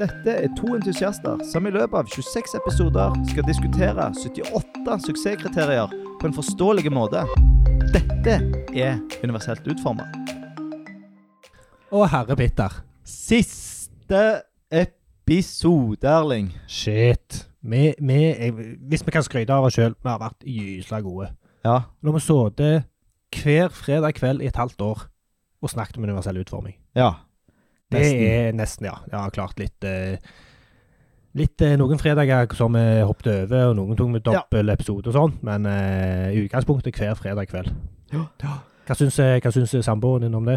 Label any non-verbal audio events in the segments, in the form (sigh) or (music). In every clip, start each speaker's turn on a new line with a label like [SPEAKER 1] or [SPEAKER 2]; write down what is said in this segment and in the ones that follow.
[SPEAKER 1] Dette er to entusiaster som i løpet av 26 episoder skal diskutere 78 suksesskriterier på en forståelig måte. Dette er universelt utforma.
[SPEAKER 2] Å, herre Petter.
[SPEAKER 1] Siste episode, Erling.
[SPEAKER 2] Shit. Vi, vi, jeg, hvis vi kan skryte av oss sjøl, vi har vært gysla gode.
[SPEAKER 1] Ja.
[SPEAKER 2] Nå har vi sittet hver fredag kveld i et halvt år og snakket om universell utforming.
[SPEAKER 1] ja.
[SPEAKER 2] Det er nesten, ja. Ja, klart litt eh, Litt eh, Noen fredager som vi hoppet over, og noen tok vi dobbel episode og sånn, men eh, i utgangspunktet hver fredag kveld.
[SPEAKER 1] Ja.
[SPEAKER 2] Hva syns, eh, hva syns samboeren din om det?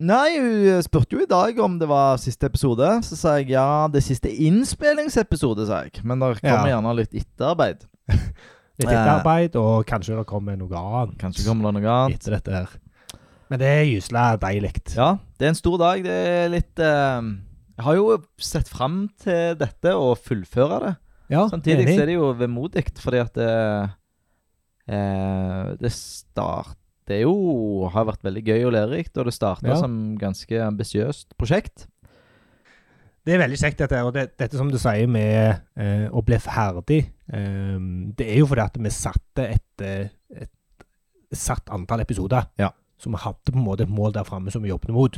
[SPEAKER 1] Nei, hun spurte jo i dag om det var siste episode. Så sa jeg ja, det er siste innspillingsepisode, sa jeg. Men det kommer
[SPEAKER 2] Ja.
[SPEAKER 1] gjerne litt etterarbeid. Eh.
[SPEAKER 2] Litt etterarbeid, og kanskje det kommer noe annet
[SPEAKER 1] Kanskje kommer det noe annet.
[SPEAKER 2] etter dette her. Men det er gysla deilig.
[SPEAKER 1] Ja, det er en stor dag. Det er litt eh, Jeg har jo sett fram til dette og fullføre det.
[SPEAKER 2] Ja,
[SPEAKER 1] Samtidig
[SPEAKER 2] enig.
[SPEAKER 1] så er det jo vemodig, fordi at det, eh, det start... Det er jo, har vært veldig gøy og lærerikt, og det starta
[SPEAKER 2] Ja.
[SPEAKER 1] som ganske ambisiøst prosjekt.
[SPEAKER 2] Det er veldig kjekt, dette. her, Og det, dette som du sier med eh, å bli ferdig, eh, det er jo fordi at vi satte et, eh, et satt antall episoder.
[SPEAKER 1] Ja.
[SPEAKER 2] Så vi hadde på en måte et mål der framme som vi jobbet mot.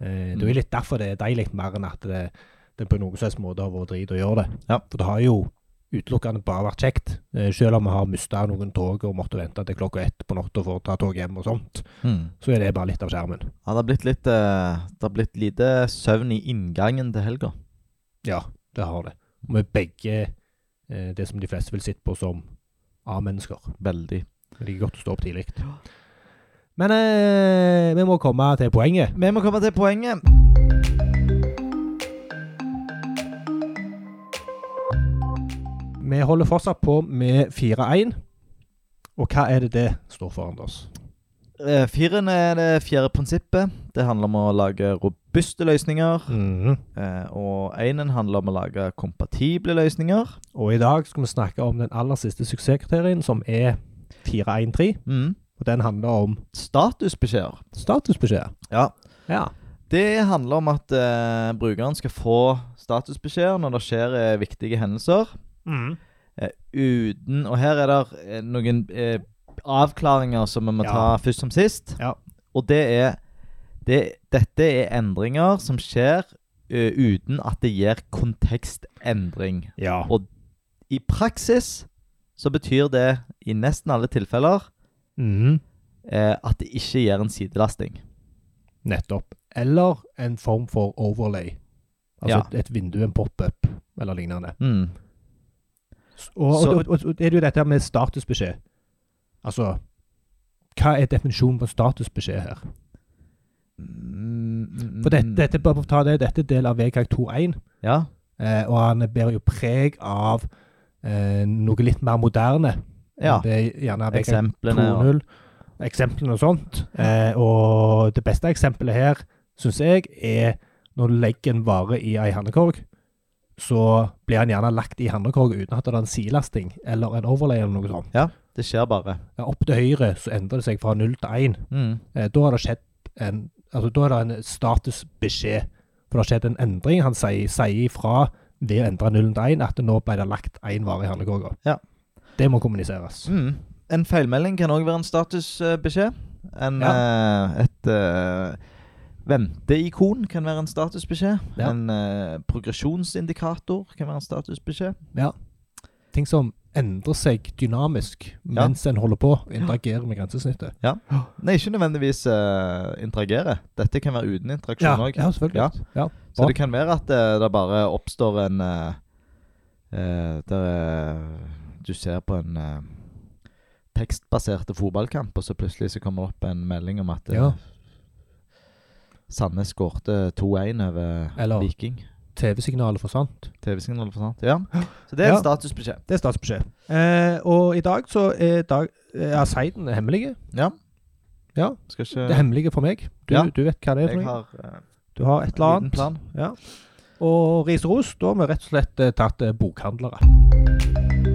[SPEAKER 2] Eh, Det er
[SPEAKER 1] Mm.
[SPEAKER 2] jo litt derfor det er deilig, mer enn at det, det på noen som helst måte har vært drit å gjøre det.
[SPEAKER 1] Ja.
[SPEAKER 2] For det har jo utelukkende bare vært kjekt. Eh, Selv om vi har mista noen tog og måtte vente til klokka ett på natta for å ta tog hjem og sånt,
[SPEAKER 1] Hmm.
[SPEAKER 2] så er det bare litt av skjermen.
[SPEAKER 1] Ja, det har blitt litt eh, Det har blitt lite søvn i inngangen til helga.
[SPEAKER 2] Ja, det har det. Og Med begge eh, det som de fleste vil sitte på som A-mennesker.
[SPEAKER 1] Veldig.
[SPEAKER 2] Det liker godt å stå opp tidlig. Men eh, vi må komme til poenget.
[SPEAKER 1] Vi må komme til poenget.
[SPEAKER 2] Vi holder fortsatt på med 4-1. Og hva er det det står for, Anders?
[SPEAKER 1] Eh, Firen er det fjerde prinsippet. Det handler om å lage robuste løsninger. Eh, og énen handler om å lage kompatible løsninger.
[SPEAKER 2] Og i dag skal vi snakke om den aller siste suksesskriterien, som er 4-1-3.
[SPEAKER 1] Mm.
[SPEAKER 2] Og den handler om
[SPEAKER 1] Statusbeskjeder.
[SPEAKER 2] statusbeskjeder.
[SPEAKER 1] Ja.
[SPEAKER 2] Ja.
[SPEAKER 1] Det handler om at eh, brukeren skal få statusbeskjeder når det skjer eh, viktige hendelser. Eh, uten Og her er det eh, noen eh, avklaringer som vi må
[SPEAKER 2] Ja.
[SPEAKER 1] ta først som sist.
[SPEAKER 2] Ja.
[SPEAKER 1] Og det er det, Dette er endringer som skjer eh, uten at det gir kontekstendring.
[SPEAKER 2] ja.
[SPEAKER 1] I praksis så betyr det i nesten alle tilfeller
[SPEAKER 2] Mhm.
[SPEAKER 1] eh, at det ikke gir en sidelasting.
[SPEAKER 2] Nettopp. Eller en form for overlay. Altså et, et vindu, en pop-up eller lignende.
[SPEAKER 1] Mm.
[SPEAKER 2] Og, og,
[SPEAKER 1] Så-
[SPEAKER 2] og, og, og er det jo dette med statusbeskjed. Altså, hva er definisjonen på statusbeskjed her? For dette,
[SPEAKER 1] Mm.
[SPEAKER 2] dette, bare for å ta det, dette er del av VKG 2.1,
[SPEAKER 1] Ja.
[SPEAKER 2] eh, og han bærer jo preg av eh, noe litt mer moderne.
[SPEAKER 1] ja.
[SPEAKER 2] Det er gjerne VKG
[SPEAKER 1] Eksemplene. og-
[SPEAKER 2] 2.0, eksemplene og sånt. Eh, og det beste eksempelet her, syns jeg, er når du legger en vare i ei handekorg, så blir den gjerne lagt i handekorg uten at det er en silasting eller en overlay eller noe sånt.
[SPEAKER 1] Det skjer bare.
[SPEAKER 2] Ja, opp til høyre så endrer det seg fra null til én.
[SPEAKER 1] Mm.
[SPEAKER 2] Eh, da har det skjedd en Altså, da er det en statusbeskjed. For det har skjedd en endring. Han sier, sier ifra ved å endre nullen til én at nå ble det lagt én vare i handekorga.
[SPEAKER 1] Ja.
[SPEAKER 2] Det må kommuniseres.
[SPEAKER 1] Mm. En feilmelding kan òg være en statusbeskjed. En, eh, et eh, venteikon kan være en statusbeskjed.
[SPEAKER 2] Ja.
[SPEAKER 1] En eh, progresjonsindikator kan være en statusbeskjed.
[SPEAKER 2] ting som endrer seg dynamisk
[SPEAKER 1] Ja.
[SPEAKER 2] mens en holder på og interagerer med grensesnittet.
[SPEAKER 1] Nei, ikke nødvendigvis eh, interagere. Dette kan være uten interaksjon òg.
[SPEAKER 2] ja selvfølgelig. Ja.
[SPEAKER 1] Så
[SPEAKER 2] bra.
[SPEAKER 1] det kan være at eh, det bare oppstår en eh, eh, Der eh, du ser på en eh, tekstbasert fotballkamp, og så plutselig så kommer det opp en melding om at eh,
[SPEAKER 2] Ja.
[SPEAKER 1] Sandnes skårte 2-1 over
[SPEAKER 2] Eller-
[SPEAKER 1] Viking.
[SPEAKER 2] TV-signalet forsvant.
[SPEAKER 1] TV-signal for sant? Ja. Så det er
[SPEAKER 2] Ja.
[SPEAKER 1] en statusbeskjed.
[SPEAKER 2] Det er statsbeskjed. Eh, og i dag så er dag, eh, er seiden hemmelige.
[SPEAKER 1] Ja.
[SPEAKER 2] Ja.
[SPEAKER 1] Skal
[SPEAKER 2] Det er
[SPEAKER 1] ikke
[SPEAKER 2] hemmelige for meg. Du,
[SPEAKER 1] Ja.
[SPEAKER 2] du vet hva det er
[SPEAKER 1] Jeg
[SPEAKER 2] for meg.
[SPEAKER 1] har eh,
[SPEAKER 2] Du har et
[SPEAKER 1] en
[SPEAKER 2] eller
[SPEAKER 1] liten
[SPEAKER 2] annet.
[SPEAKER 1] plan.
[SPEAKER 2] Ja. Og ris og ros, da har vi rett og slett eh, tatt eh, bokhandlere.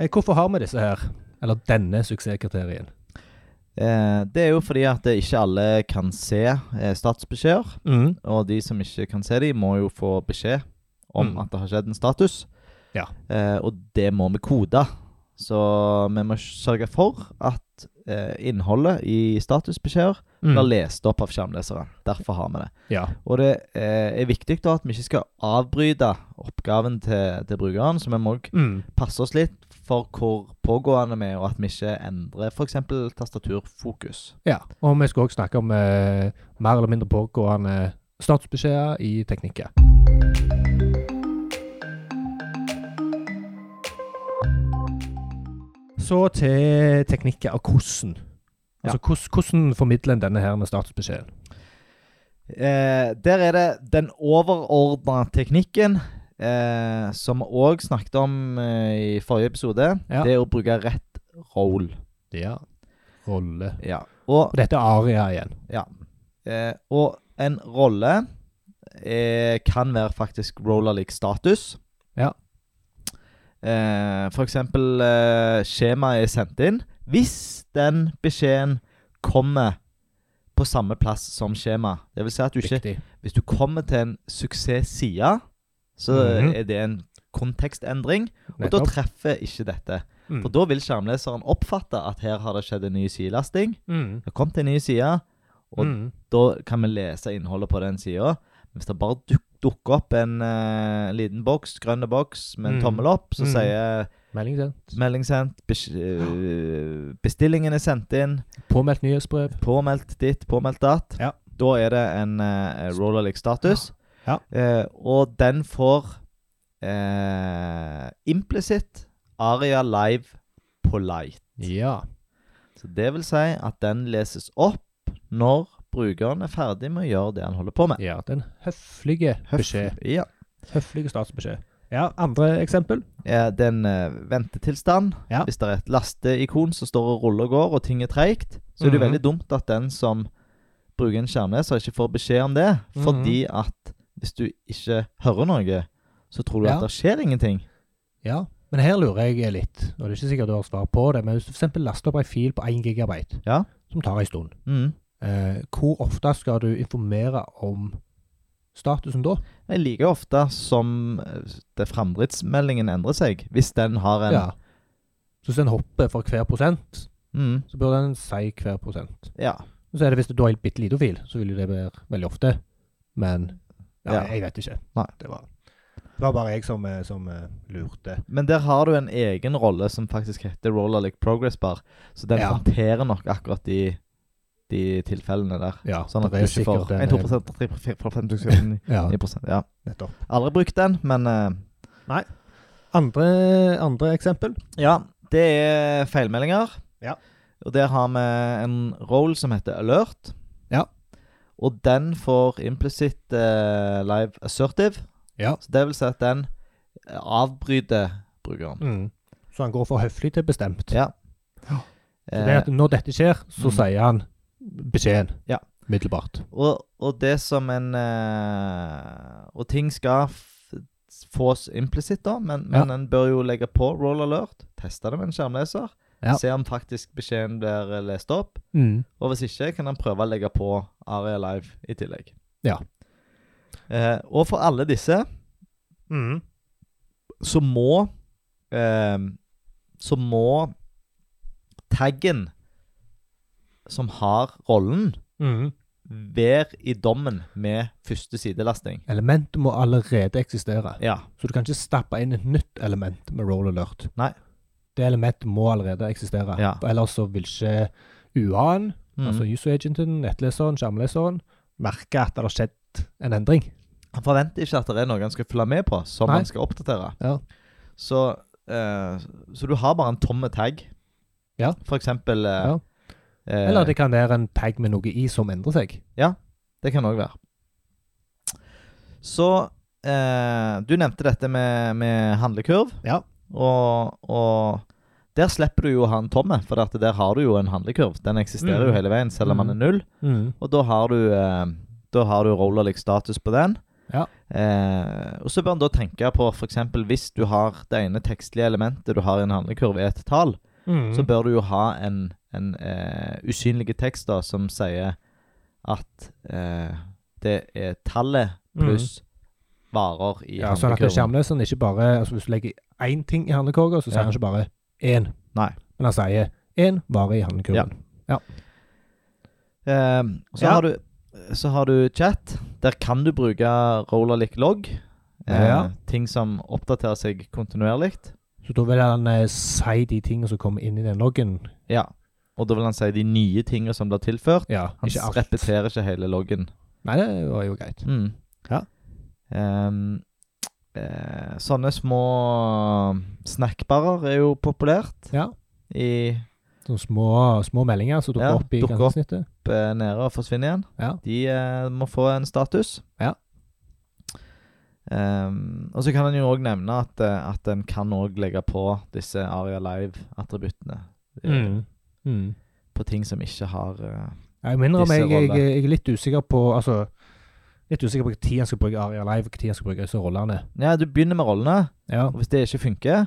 [SPEAKER 2] Eh, Hvorfor har vi disse her? Eller denne suksesskriterien?
[SPEAKER 1] Eh, det er jo fordi at det ikke alle kan se eh, statusbeskjeder.
[SPEAKER 2] Mm.
[SPEAKER 1] Og de som ikke kan se de, må jo få beskjed om
[SPEAKER 2] Mm.
[SPEAKER 1] at det har skjedd en status.
[SPEAKER 2] Ja.
[SPEAKER 1] Eh, og det må vi kode. Så vi må sørge for at eh, innholdet i statusbeskjeder blir
[SPEAKER 2] Mm.
[SPEAKER 1] lest opp av skjermleseren. Derfor har vi det.
[SPEAKER 2] Ja.
[SPEAKER 1] Og det eh, er viktig da at vi ikke skal avbryte oppgaven til, til brukeren, så vi må også
[SPEAKER 2] Mm.
[SPEAKER 1] passe oss litt for hvor pågående vi er, og at vi ikke endrer f.eks. tastaturfokus.
[SPEAKER 2] ja. Og vi skal også snakke om eh, mer eller mindre pågående statusbeskjeder i teknikker. Så til teknikker og hvordan. Altså hvordan, hvordan formidler en denne her med statusbeskjeden?
[SPEAKER 1] Eh, der er det den overordna teknikken eh, som vi òg snakket om eh, i forrige episode.
[SPEAKER 2] Ja.
[SPEAKER 1] Det er å bruke rett roll.
[SPEAKER 2] Ja. Rolle.
[SPEAKER 1] Ja. Og,
[SPEAKER 2] Og dette er aria igjen.
[SPEAKER 1] eh, og en rolle eh, kan være faktisk roller lik status.
[SPEAKER 2] Ja.
[SPEAKER 1] Eh, for eksempel eh, skjemaet er sendt inn. Hvis den beskjeden kommer på samme plass som skjema. Det vil si at du ikke
[SPEAKER 2] Viktig.
[SPEAKER 1] Hvis du kommer til en suksessside, så
[SPEAKER 2] Mhm.
[SPEAKER 1] er det en kontekstendring, og da
[SPEAKER 2] Nettopp.
[SPEAKER 1] treffer ikke dette.
[SPEAKER 2] Mm.
[SPEAKER 1] For da vil skjermleseren oppfatte at her har det skjedd en ny sidelasting.
[SPEAKER 2] Mm.
[SPEAKER 1] Det kom til en ny side, og
[SPEAKER 2] Mm.
[SPEAKER 1] da kan vi lese innholdet på den sida. Hvis det bare duk dukker opp en eh, liten boks, grønn boks med en
[SPEAKER 2] Mm.
[SPEAKER 1] tommel opp, så
[SPEAKER 2] Mm.
[SPEAKER 1] sier
[SPEAKER 2] Melding sendt.
[SPEAKER 1] melding sendt, bes eh, bestillingen er sendt inn,
[SPEAKER 2] Påmeldt nyhetsbrev.
[SPEAKER 1] Påmeldt ditt, påmeldt datt.
[SPEAKER 2] Ja.
[SPEAKER 1] Da er det en uh, roller league status.
[SPEAKER 2] Ja.
[SPEAKER 1] Eh, og den får eh, implisitt Aria live på light.
[SPEAKER 2] Ja.
[SPEAKER 1] Så det vil si at den leses opp når brukeren er ferdig med å gjøre det han holder på med.
[SPEAKER 2] ja. Den høflige beskjed.
[SPEAKER 1] Høflig, Ja.
[SPEAKER 2] Høflige statsbeskjed. Ja, andre eksempel?
[SPEAKER 1] Eh, det er en eh, ventetilstand.
[SPEAKER 2] Ja.
[SPEAKER 1] Hvis det er et lasteikon som står og ruller og går, og ting er treigt, så er det jo
[SPEAKER 2] Mhm.
[SPEAKER 1] veldig dumt at den som bruker en skjermleser, ikke får beskjed om det.
[SPEAKER 2] Mhm.
[SPEAKER 1] Fordi at hvis du ikke hører noe, så tror du
[SPEAKER 2] Ja.
[SPEAKER 1] at det skjer ingenting.
[SPEAKER 2] Ja. Men her lurer jeg litt, og det er ikke sikkert du har svar på det, men hvis du f.eks. laster opp ei fil på 1 gigabyte,
[SPEAKER 1] Ja.
[SPEAKER 2] som tar ei stund,
[SPEAKER 1] Mm.
[SPEAKER 2] eh, hvor ofte skal du informere om statusen da?
[SPEAKER 1] Det er like ofte som eh, det framdriftsmeldingen endrer seg, hvis den har en
[SPEAKER 2] Ja. Så hvis den hopper for hver prosent,
[SPEAKER 1] Mm,
[SPEAKER 2] så bør den si hver prosent.
[SPEAKER 1] ja.
[SPEAKER 2] Og så er det hvis du har en bitte liten fil, så vil jo det være veldig ofte. Men ja,
[SPEAKER 1] Ja.
[SPEAKER 2] jeg vet ikke.
[SPEAKER 1] Nei.
[SPEAKER 2] Det var, det var bare jeg som, eh, som eh, lurte.
[SPEAKER 1] Men der har du en egen rolle som faktisk heter Roller Like Progress Bar, så den
[SPEAKER 2] Ja.
[SPEAKER 1] håndterer nok akkurat de, de tilfellene der.
[SPEAKER 2] Ja,
[SPEAKER 1] Sånn at
[SPEAKER 2] det
[SPEAKER 1] du
[SPEAKER 2] er
[SPEAKER 1] ikke får
[SPEAKER 2] sikkert en-
[SPEAKER 1] 1, 2 3 4 5 6
[SPEAKER 2] (laughs) Ja,
[SPEAKER 1] 9 ja.
[SPEAKER 2] nettopp.
[SPEAKER 1] Aldri brukt den, men eh,
[SPEAKER 2] Andre, andre eksempel?
[SPEAKER 1] Ja, det er feilmeldinger.
[SPEAKER 2] Ja.
[SPEAKER 1] Og der har vi en roll som heter alert.
[SPEAKER 2] Ja.
[SPEAKER 1] Og den får implisitt eh, live assertive.
[SPEAKER 2] Ja.
[SPEAKER 1] Så det vil si at den eh, avbryter brukeren.
[SPEAKER 2] Mm. Så han går for høflig til bestemt.
[SPEAKER 1] Ja.
[SPEAKER 2] Så det er
[SPEAKER 1] Eh,
[SPEAKER 2] at når dette skjer, så
[SPEAKER 1] Mm.
[SPEAKER 2] sier han beskjeden.
[SPEAKER 1] Ja.
[SPEAKER 2] Middelbart.
[SPEAKER 1] og, og det som en eh, Og ting skal f fås implisitt, da, men, men en bør jo legge på roll alert. Teste det med en skjermleser.
[SPEAKER 2] Ja.
[SPEAKER 1] Se om faktisk beskjeden blir lest opp. Og hvis ikke, kan han prøve å legge på Aria Live i tillegg.
[SPEAKER 2] Ja.
[SPEAKER 1] Eh, og for alle disse
[SPEAKER 2] Mm.
[SPEAKER 1] så må eh, Så må taggen som har rollen,
[SPEAKER 2] Mm.
[SPEAKER 1] være i dommen med første sidelasting.
[SPEAKER 2] Elementet må allerede eksistere,
[SPEAKER 1] Ja.
[SPEAKER 2] så du kan ikke stappe inn et nytt element med roll alert.
[SPEAKER 1] Nei.
[SPEAKER 2] Det elementet må allerede eksistere,
[SPEAKER 1] Ja.
[SPEAKER 2] for ellers så vil ikke UA-en,
[SPEAKER 1] Mm.
[SPEAKER 2] altså user agenten, nettleseren, skjermleseren, merke at det har skjedd en endring.
[SPEAKER 1] han forventer ikke at det er noe han skal følge med på, som
[SPEAKER 2] Nei.
[SPEAKER 1] han skal oppdatere.
[SPEAKER 2] Ja.
[SPEAKER 1] Så, eh, så du har bare en tomme tag.
[SPEAKER 2] Ja.
[SPEAKER 1] For eksempel eh,
[SPEAKER 2] Ja.
[SPEAKER 1] eh,
[SPEAKER 2] Eller det kan være en tag med noe i som endrer seg.
[SPEAKER 1] Det kan òg være. Så eh, Du nevnte dette med, med handlekurv.
[SPEAKER 2] Ja.
[SPEAKER 1] Og, og der slipper du jo å ha en tomme, for at der har du jo en handlekurv. Den eksisterer
[SPEAKER 2] Mm.
[SPEAKER 1] jo hele veien, selv om
[SPEAKER 2] Mm.
[SPEAKER 1] den er null. Og da har du eh, Da har du rollerlig status på den.
[SPEAKER 2] Ja.
[SPEAKER 1] Eh, og så bør en da tenke på f.eks. hvis du har det ene tekstlige elementet du har i en handlekurv, er et tall,
[SPEAKER 2] Mm.
[SPEAKER 1] så bør du jo ha en, en eh, usynlig tekst da, som sier at eh, det er tallet
[SPEAKER 2] Mm.
[SPEAKER 1] pluss varer i
[SPEAKER 2] Ja, sånn at
[SPEAKER 1] handlekurven.
[SPEAKER 2] skjermleseren ikke bare altså Hvis du legger én ting i handlekorga, så sier
[SPEAKER 1] Ja.
[SPEAKER 2] han ikke bare én.
[SPEAKER 1] Nei.
[SPEAKER 2] Men han sier én vare i handlekurven.
[SPEAKER 1] Ehm, så,
[SPEAKER 2] Ja.
[SPEAKER 1] har du, så har du chat. Der kan du bruke Rollerlick logg. Eh,
[SPEAKER 2] Ja.
[SPEAKER 1] Ting som oppdaterer seg kontinuerlig.
[SPEAKER 2] Så da vil han eh, si de tingene som kommer inn i den loggen.
[SPEAKER 1] Ja. Og da vil han si de nye tingene som blir tilført.
[SPEAKER 2] Ja,
[SPEAKER 1] Han
[SPEAKER 2] ikke alt.
[SPEAKER 1] repeterer ikke hele loggen.
[SPEAKER 2] Nei, det var jo greit.
[SPEAKER 1] Mm.
[SPEAKER 2] Ja.
[SPEAKER 1] Ehm, eh, sånne små snackbarer er jo populært
[SPEAKER 2] Ja.
[SPEAKER 1] i
[SPEAKER 2] Sånne små, små meldinger som dukker
[SPEAKER 1] Ja,
[SPEAKER 2] opp i
[SPEAKER 1] dukker opp.
[SPEAKER 2] grensesnittet.
[SPEAKER 1] eh, nede og forsvinner igjen.
[SPEAKER 2] Ja.
[SPEAKER 1] De eh, må få en status.
[SPEAKER 2] Ja.
[SPEAKER 1] Ehm, og så kan en jo òg nevne at, eh, at en kan òg legge på disse Aria Live-attributtene eh,
[SPEAKER 2] Mm. Mm.
[SPEAKER 1] på ting som ikke har eh,
[SPEAKER 2] Jeg må innrømme,
[SPEAKER 1] Disse
[SPEAKER 2] jeg, jeg,
[SPEAKER 1] roller.
[SPEAKER 2] jeg er litt usikker på Altså, litt usikker på når han skal bruke Aria Live, og når han skal bruke disse rollene.
[SPEAKER 1] Ja, du begynner med rollene,
[SPEAKER 2] Ja.
[SPEAKER 1] og hvis det ikke funker,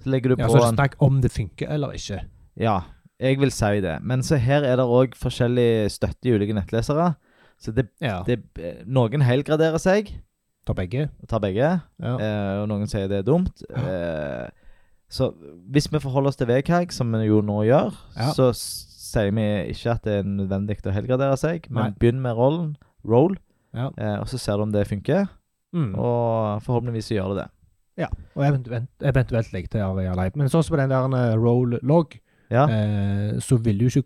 [SPEAKER 1] så legger du
[SPEAKER 2] Ja,
[SPEAKER 1] på
[SPEAKER 2] så
[SPEAKER 1] en
[SPEAKER 2] snakk om det funker eller ikke.
[SPEAKER 1] Ja, jeg vil si det. Men så her er det òg forskjellig støtte i ulike nettlesere. Så det,
[SPEAKER 2] Ja.
[SPEAKER 1] det eh, Noen helgraderer seg
[SPEAKER 2] Ta begge.
[SPEAKER 1] og tar begge.
[SPEAKER 2] Ja.
[SPEAKER 1] Eh, og noen sier det er dumt. Eh, så hvis vi forholder oss til VKG, som vi jo nå gjør,
[SPEAKER 2] Ja.
[SPEAKER 1] så s- sier vi ikke at det er nødvendig å helgradere seg, men
[SPEAKER 2] Nei.
[SPEAKER 1] begynn med rollen, roll,
[SPEAKER 2] Ja.
[SPEAKER 1] eh, og så ser du om det funker.
[SPEAKER 2] Mm. Og,
[SPEAKER 1] Og forhåpentligvis så gjør det det.
[SPEAKER 2] eventuelt, eventuelt legge til Aria Live. Men sånn som på den der eh, roll log,
[SPEAKER 1] Ja,
[SPEAKER 2] eh, så vil du ikke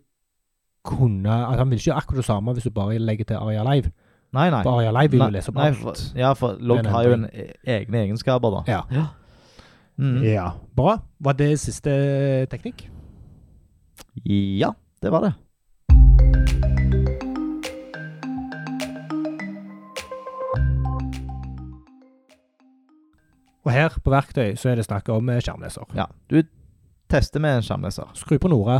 [SPEAKER 2] kunne altså, Han vil ikke gjøre akkurat det samme hvis du bare legger til Aria Live.
[SPEAKER 1] Nei, nei.
[SPEAKER 2] For Aria Live vil
[SPEAKER 1] Nei,
[SPEAKER 2] jo lese opp
[SPEAKER 1] nei, for,
[SPEAKER 2] alt.
[SPEAKER 1] ja, for logg
[SPEAKER 2] Det er en
[SPEAKER 1] har jo en e egne egenskaper, da.
[SPEAKER 2] Ja.
[SPEAKER 1] Mm.
[SPEAKER 2] ja. Bra. Var det siste eh, teknikk?
[SPEAKER 1] Ja, det var det.
[SPEAKER 2] Og her på verktøy så er det snakk om eh, skjermleser.
[SPEAKER 1] Ja. Du tester med en skjermleser.
[SPEAKER 2] Skru på Nora.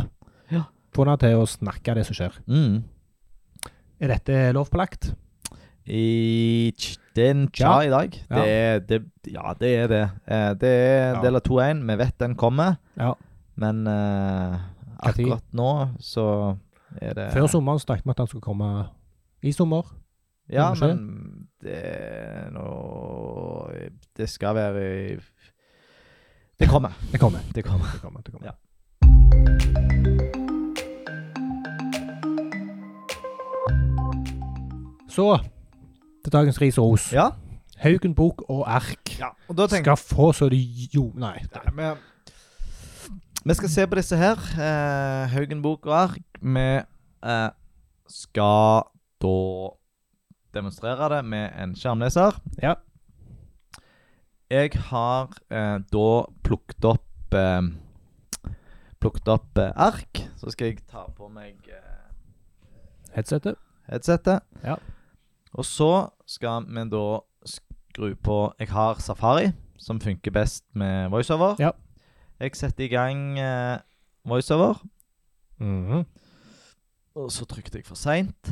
[SPEAKER 1] Ja.
[SPEAKER 2] Få henne til å snakke det som skjer.
[SPEAKER 1] Mm.
[SPEAKER 2] Er dette lovpålagt?
[SPEAKER 1] I, tj- det er en tja
[SPEAKER 2] Ja.
[SPEAKER 1] i dag.
[SPEAKER 2] Ja.
[SPEAKER 1] Det er, det, ja, det er det. Eh, det er en
[SPEAKER 2] Ja.
[SPEAKER 1] del av 2-1. Vi vet den kommer,
[SPEAKER 2] Ja.
[SPEAKER 1] men eh,
[SPEAKER 2] Hva tid?
[SPEAKER 1] akkurat nå så er det
[SPEAKER 2] Før sommeren snakket vi at han skulle komme i sommer.
[SPEAKER 1] Ja,
[SPEAKER 2] må vi se.
[SPEAKER 1] men det er nå Det skal være i Det kommer.
[SPEAKER 2] Det kommer.
[SPEAKER 1] Det kommer.
[SPEAKER 2] Det kommer, det kommer.
[SPEAKER 1] Ja.
[SPEAKER 2] Så til dagens ris og ros.
[SPEAKER 1] Ja.
[SPEAKER 2] Haugen bok og ark
[SPEAKER 1] Og da tenker
[SPEAKER 2] skal få så de jo Nei.
[SPEAKER 1] Nei, men Vi skal se på disse her. eh, Haugen bok og ark. Vi eh, skal da demonstrere det med en skjermleser.
[SPEAKER 2] Ja.
[SPEAKER 1] Jeg har eh, da plukket opp eh, Plukket opp eh, ark. Så skal jeg ta på meg eh,
[SPEAKER 2] Headsetet.
[SPEAKER 1] headsetet.
[SPEAKER 2] Ja.
[SPEAKER 1] Og så skal vi da skru på Jeg har Safari, som funker best med voiceover.
[SPEAKER 2] Ja.
[SPEAKER 1] Jeg setter i gang eh, voiceover,
[SPEAKER 2] Mhm.
[SPEAKER 1] og så trykte jeg for seint.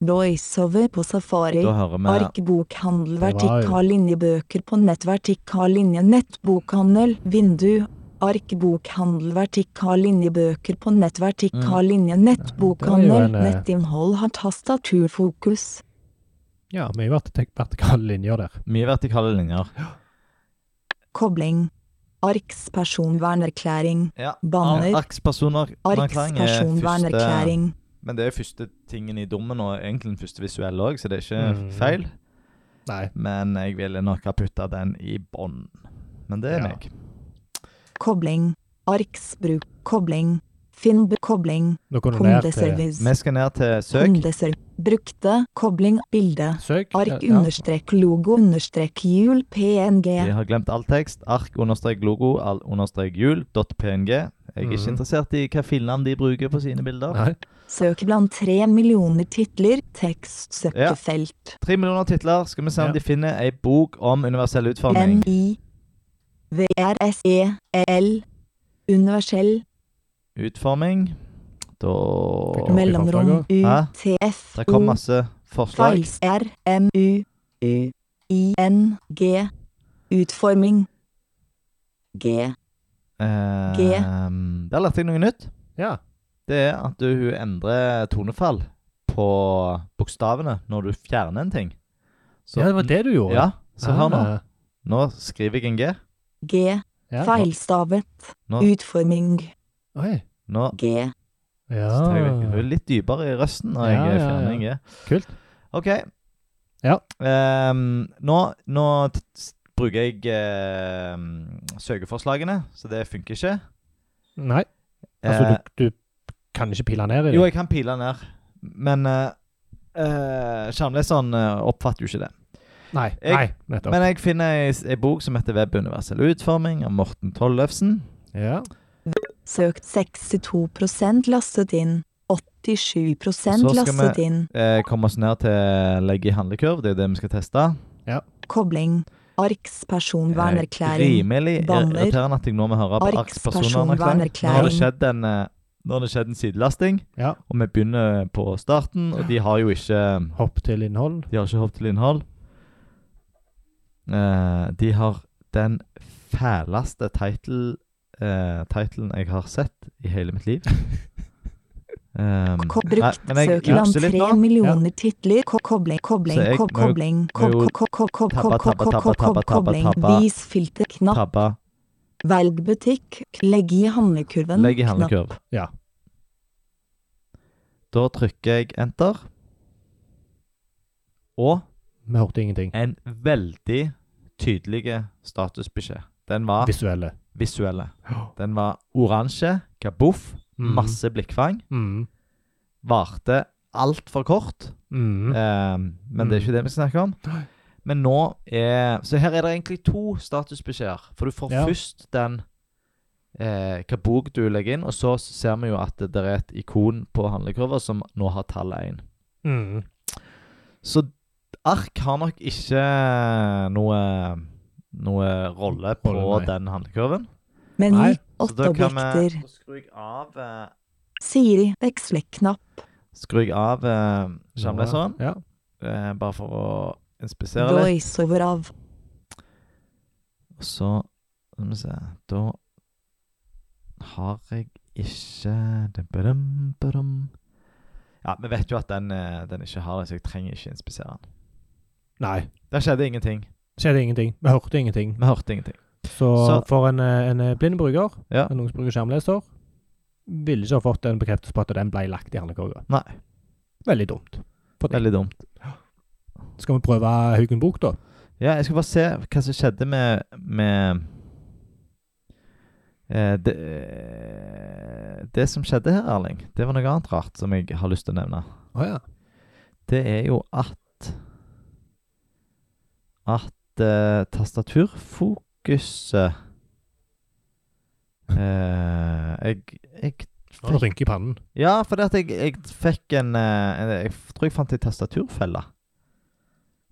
[SPEAKER 3] Voiceover på safari.
[SPEAKER 1] Da hører vi
[SPEAKER 3] Ark bokhandel,
[SPEAKER 2] var jo-
[SPEAKER 3] vertikal linje bøker på nett, vertikal linje nettbokhandel, vindu. Ark bokhandel, vertikal linje bøker på nett, vertikal linje
[SPEAKER 2] Mm. det er
[SPEAKER 3] nettbokhandel,
[SPEAKER 2] jo en, eh,
[SPEAKER 3] nettinnhold har tastaturfokus.
[SPEAKER 2] Ja, mye vert- vertikale linjer der.
[SPEAKER 1] mye vertikale linjer.
[SPEAKER 3] Kobling. Arks personvernerklæring.
[SPEAKER 1] Ja.
[SPEAKER 3] Banner.
[SPEAKER 1] Arks
[SPEAKER 2] eh,
[SPEAKER 1] personvernerklæring
[SPEAKER 3] Arks
[SPEAKER 1] er eh, første
[SPEAKER 3] personvernerklæring.
[SPEAKER 1] Men det er første tingen i dommen, og egentlig den første visuelle òg, så det er ikke
[SPEAKER 2] Mm.
[SPEAKER 1] feil.
[SPEAKER 2] Nei.
[SPEAKER 1] Men jeg ville nok ha putta den i bånn. Men det er
[SPEAKER 2] Ja.
[SPEAKER 1] meg.
[SPEAKER 3] Kobling. Arks bruk. Kobling. Finn kobling.
[SPEAKER 2] Nå går du ned til
[SPEAKER 3] Kundeservice.
[SPEAKER 1] Vi skal ned til søk.
[SPEAKER 3] Kundeservice. Brukte. Kobling. Bilde.
[SPEAKER 2] søk.
[SPEAKER 3] Ark
[SPEAKER 2] Ja.
[SPEAKER 3] understrek logo understrek hjul
[SPEAKER 1] Vi
[SPEAKER 3] PNG.
[SPEAKER 1] har glemt all tekst. Ark understrek logo all understrek jul dot png. Jeg er ikke
[SPEAKER 2] Mhm.
[SPEAKER 1] interessert i hva filnavn de bruker på sine bilder.
[SPEAKER 2] Nei.
[SPEAKER 3] Søk blant tre millioner titler. Tekstsøkefelt.
[SPEAKER 1] Tre millioner titler. Skal vi se om
[SPEAKER 2] Ja.
[SPEAKER 1] de finner ei bok om universell utforming.
[SPEAKER 3] N-I-V-R-S-E-L. E Universell.
[SPEAKER 1] Utforming. Da
[SPEAKER 2] Fikk vi-
[SPEAKER 3] Mellomrom.
[SPEAKER 1] Hæ?
[SPEAKER 3] UTF.
[SPEAKER 1] Det kom masse forslag.
[SPEAKER 3] Files. E, R-M-U-U-I-N-G. Utforming. G.
[SPEAKER 1] Eh,
[SPEAKER 3] G.
[SPEAKER 1] Der lærte jeg noe nytt.
[SPEAKER 2] Ja.
[SPEAKER 1] Det er at du, hun endrer tonefall på bokstavene når du fjerner en ting. Så,
[SPEAKER 2] ja, det var det du gjorde.
[SPEAKER 1] Ja, så hør nå.
[SPEAKER 2] Ah,
[SPEAKER 1] Nå skriver jeg en G.
[SPEAKER 3] G.
[SPEAKER 2] Ja.
[SPEAKER 3] Feilstavet.
[SPEAKER 1] Nå,
[SPEAKER 3] Utforming.
[SPEAKER 2] Oi.
[SPEAKER 1] nå
[SPEAKER 3] G.
[SPEAKER 1] så tar jeg vekk- hun
[SPEAKER 2] Ja.
[SPEAKER 1] er litt dypere i røsten når
[SPEAKER 2] Ja,
[SPEAKER 1] jeg
[SPEAKER 2] ja,
[SPEAKER 1] fjerner
[SPEAKER 2] ja.
[SPEAKER 1] en G.
[SPEAKER 2] Kult.
[SPEAKER 1] OK.
[SPEAKER 2] Ja.
[SPEAKER 1] Ehm, nå nå t s- bruker jeg ehm, søkeforslagene, så det funker ikke.
[SPEAKER 2] Nei, altså
[SPEAKER 1] Eh,
[SPEAKER 2] du, du kan ikke pile ned i det?
[SPEAKER 1] Jo, jeg kan pile ned, men eh, eh, skjermleseren eh, oppfatter jo ikke det.
[SPEAKER 2] nei,
[SPEAKER 1] jeg-
[SPEAKER 2] nei, nettopp.
[SPEAKER 1] Men jeg finner ei, ei bok som heter 'Web universell utforming' av Morten Tollefsen.
[SPEAKER 2] ja.
[SPEAKER 3] Søkt 62 lastet inn. 87
[SPEAKER 1] Så skal
[SPEAKER 3] lastet
[SPEAKER 1] vi-
[SPEAKER 3] inn.
[SPEAKER 1] Eh, Kom oss ned til legge i handlekurv, det er jo det vi skal teste.
[SPEAKER 3] Kobling. Arks personvernerklæring.
[SPEAKER 1] Eh, Rimelig ir-
[SPEAKER 3] Banner.
[SPEAKER 1] irriterende at jeg nå må høre på
[SPEAKER 3] Arks
[SPEAKER 1] Arks personvernerklæring. Nå har det skjedd en, eh, nå har det skjedd en sidelasting,
[SPEAKER 2] Ja.
[SPEAKER 1] og vi begynner på starten, og de har jo ikke
[SPEAKER 2] Hopp til innhold.
[SPEAKER 1] De har ikke hopp til innhold. Eh, de har den fæleste title, eh, titlen jeg har sett i hele mitt
[SPEAKER 3] (laughs)
[SPEAKER 1] liv. Um,
[SPEAKER 3] Ko- Brukt søkeland tre millioner titler. Ko- Kobling, kobling,
[SPEAKER 1] Så jeg
[SPEAKER 3] ko-
[SPEAKER 1] må jo-
[SPEAKER 3] kobling, ko-
[SPEAKER 1] må jo
[SPEAKER 3] ko- ko- ko-
[SPEAKER 1] tabba,
[SPEAKER 3] ko- ko-
[SPEAKER 1] tabba,
[SPEAKER 3] ko- ko-
[SPEAKER 1] tabba,
[SPEAKER 3] ko- kobling.
[SPEAKER 1] tabba, tabba.
[SPEAKER 3] Vis filter, knapp,
[SPEAKER 1] Tabba.
[SPEAKER 3] velg butikk, legg i handlekurven,
[SPEAKER 1] Legg i
[SPEAKER 3] knapp.
[SPEAKER 1] handlekurv.
[SPEAKER 2] Ja.
[SPEAKER 1] Da trykker jeg enter. Og
[SPEAKER 2] Vi hørte ingenting.
[SPEAKER 1] en veldig tydelig statusbeskjed. Den var
[SPEAKER 2] Visuelle.
[SPEAKER 1] visuelle. Den var oransje, kaboff,
[SPEAKER 2] Mm.
[SPEAKER 1] masse blikkfang.
[SPEAKER 2] Mm.
[SPEAKER 1] varte altfor kort.
[SPEAKER 2] Mm.
[SPEAKER 1] Eh, men det er ikke det vi snakker om.
[SPEAKER 2] Nei.
[SPEAKER 1] Men nå er Så her er det egentlig to statusbeskjeder. For du får
[SPEAKER 2] Ja.
[SPEAKER 1] først den eh, hva bok du legger inn, og så ser vi jo at det der er et ikon på handlekurva som nå har tallet 1.
[SPEAKER 2] Mm.
[SPEAKER 1] Så ark har nok ikke noe noe rolle på
[SPEAKER 2] Rolle, nei.
[SPEAKER 1] den handlekurven.
[SPEAKER 2] Nei,
[SPEAKER 3] Meny,
[SPEAKER 1] Så
[SPEAKER 3] åtte
[SPEAKER 1] da kan
[SPEAKER 3] objekter.
[SPEAKER 1] vi Så skrur jeg av, eh,
[SPEAKER 3] Siri, veksle-knapp.
[SPEAKER 1] skrur jeg av eh, skjermleseren,
[SPEAKER 2] Ja.
[SPEAKER 1] eh, bare for å inspisere litt.
[SPEAKER 3] Voiceover av
[SPEAKER 1] Og så Skal vi se Da har jeg ikke det- badum, badum. Ja, vi vet jo at den, eh, den ikke har det, så jeg trenger ikke inspisere den.
[SPEAKER 2] Nei.
[SPEAKER 1] Der skjedde ingenting.
[SPEAKER 2] Skjedde ingenting. Vi hørte ingenting.
[SPEAKER 1] Vi hørte ingenting.
[SPEAKER 2] Så,
[SPEAKER 1] Så-
[SPEAKER 2] for en, eh, en eh, blind bruker,
[SPEAKER 1] Ja.
[SPEAKER 2] en ungdomsbruker skjermleser, ville ikke ha fått en bekreftelse på at den ble lagt i handlekorga.
[SPEAKER 1] Nei.
[SPEAKER 2] Veldig dumt.
[SPEAKER 1] Veldig dumt.
[SPEAKER 2] Skal vi prøve Haugen Bok, da?
[SPEAKER 1] Ja, jeg skal bare se hva som skjedde med med eh, det, eh, det som skjedde her, Erling, det var noe annet rart som jeg har lyst til å nevne.
[SPEAKER 2] Å ja.
[SPEAKER 1] det er jo at At eh, tastaturfokuset eh, jeg, jeg
[SPEAKER 2] Nå rynker i pannen.
[SPEAKER 1] Ja, fordi at jeg, jeg fikk en eh, en- Jeg tror jeg fant ei tastaturfelle.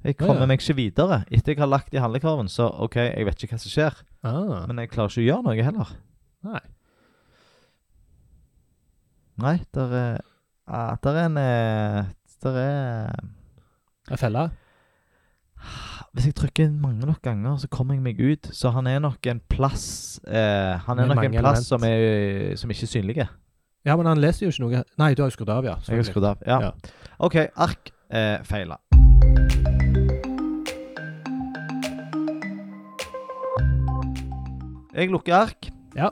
[SPEAKER 1] Jeg
[SPEAKER 2] Å,
[SPEAKER 1] kommer
[SPEAKER 2] ja.
[SPEAKER 1] meg ikke videre. Etter jeg har lagt i handlekurven, så OK, jeg vet ikke hva som skjer.
[SPEAKER 2] Ah.
[SPEAKER 1] Men jeg klarer ikke å gjøre noe heller.
[SPEAKER 2] Nei.
[SPEAKER 1] Nei, der er ah, Der er en eh, Der er
[SPEAKER 2] En felle?
[SPEAKER 1] Hvis jeg trykker mange nok ganger, så kommer jeg meg ut. Så han er nok en plass eh, Han er
[SPEAKER 2] Med
[SPEAKER 1] nok en
[SPEAKER 2] mange
[SPEAKER 1] plass
[SPEAKER 2] element.
[SPEAKER 1] som, er, som ikke er synlige.
[SPEAKER 2] Ja, men han leser jo ikke noe. Nei, du har jo skrudd av, ja.
[SPEAKER 1] Jeg har skrudd av. Ja.
[SPEAKER 2] Ja.
[SPEAKER 1] OK, ark eh, feila. Jeg lukker ark.
[SPEAKER 2] Ja.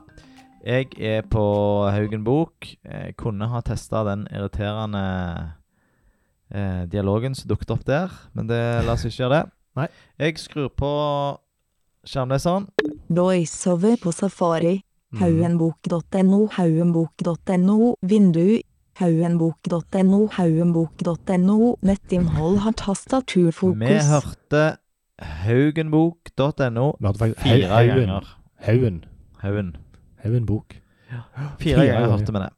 [SPEAKER 1] Jeg er på Haugen Bok. Jeg kunne ha testa den irriterende eh, dialogen som dukket opp der, men det la oss ikke gjøre det.
[SPEAKER 2] Nei.
[SPEAKER 1] Jeg skrur på skjermleseren.
[SPEAKER 3] voiceover på Safari.
[SPEAKER 2] Mm.
[SPEAKER 3] Haugenbok.no, haugenbok.no, vindu. Haugenbok.no, haugenbok.no. Nettinnhold har
[SPEAKER 1] Vi
[SPEAKER 3] tastaturfokus.
[SPEAKER 1] hørte haugenbok.no
[SPEAKER 2] Vi hørte faktisk Hau-
[SPEAKER 1] fire
[SPEAKER 2] Haugen.
[SPEAKER 1] ganger.
[SPEAKER 2] Haugen.
[SPEAKER 1] Haugen.
[SPEAKER 2] Haugen Bok.
[SPEAKER 1] Fire ganger
[SPEAKER 2] ganger.
[SPEAKER 1] hørte vi det.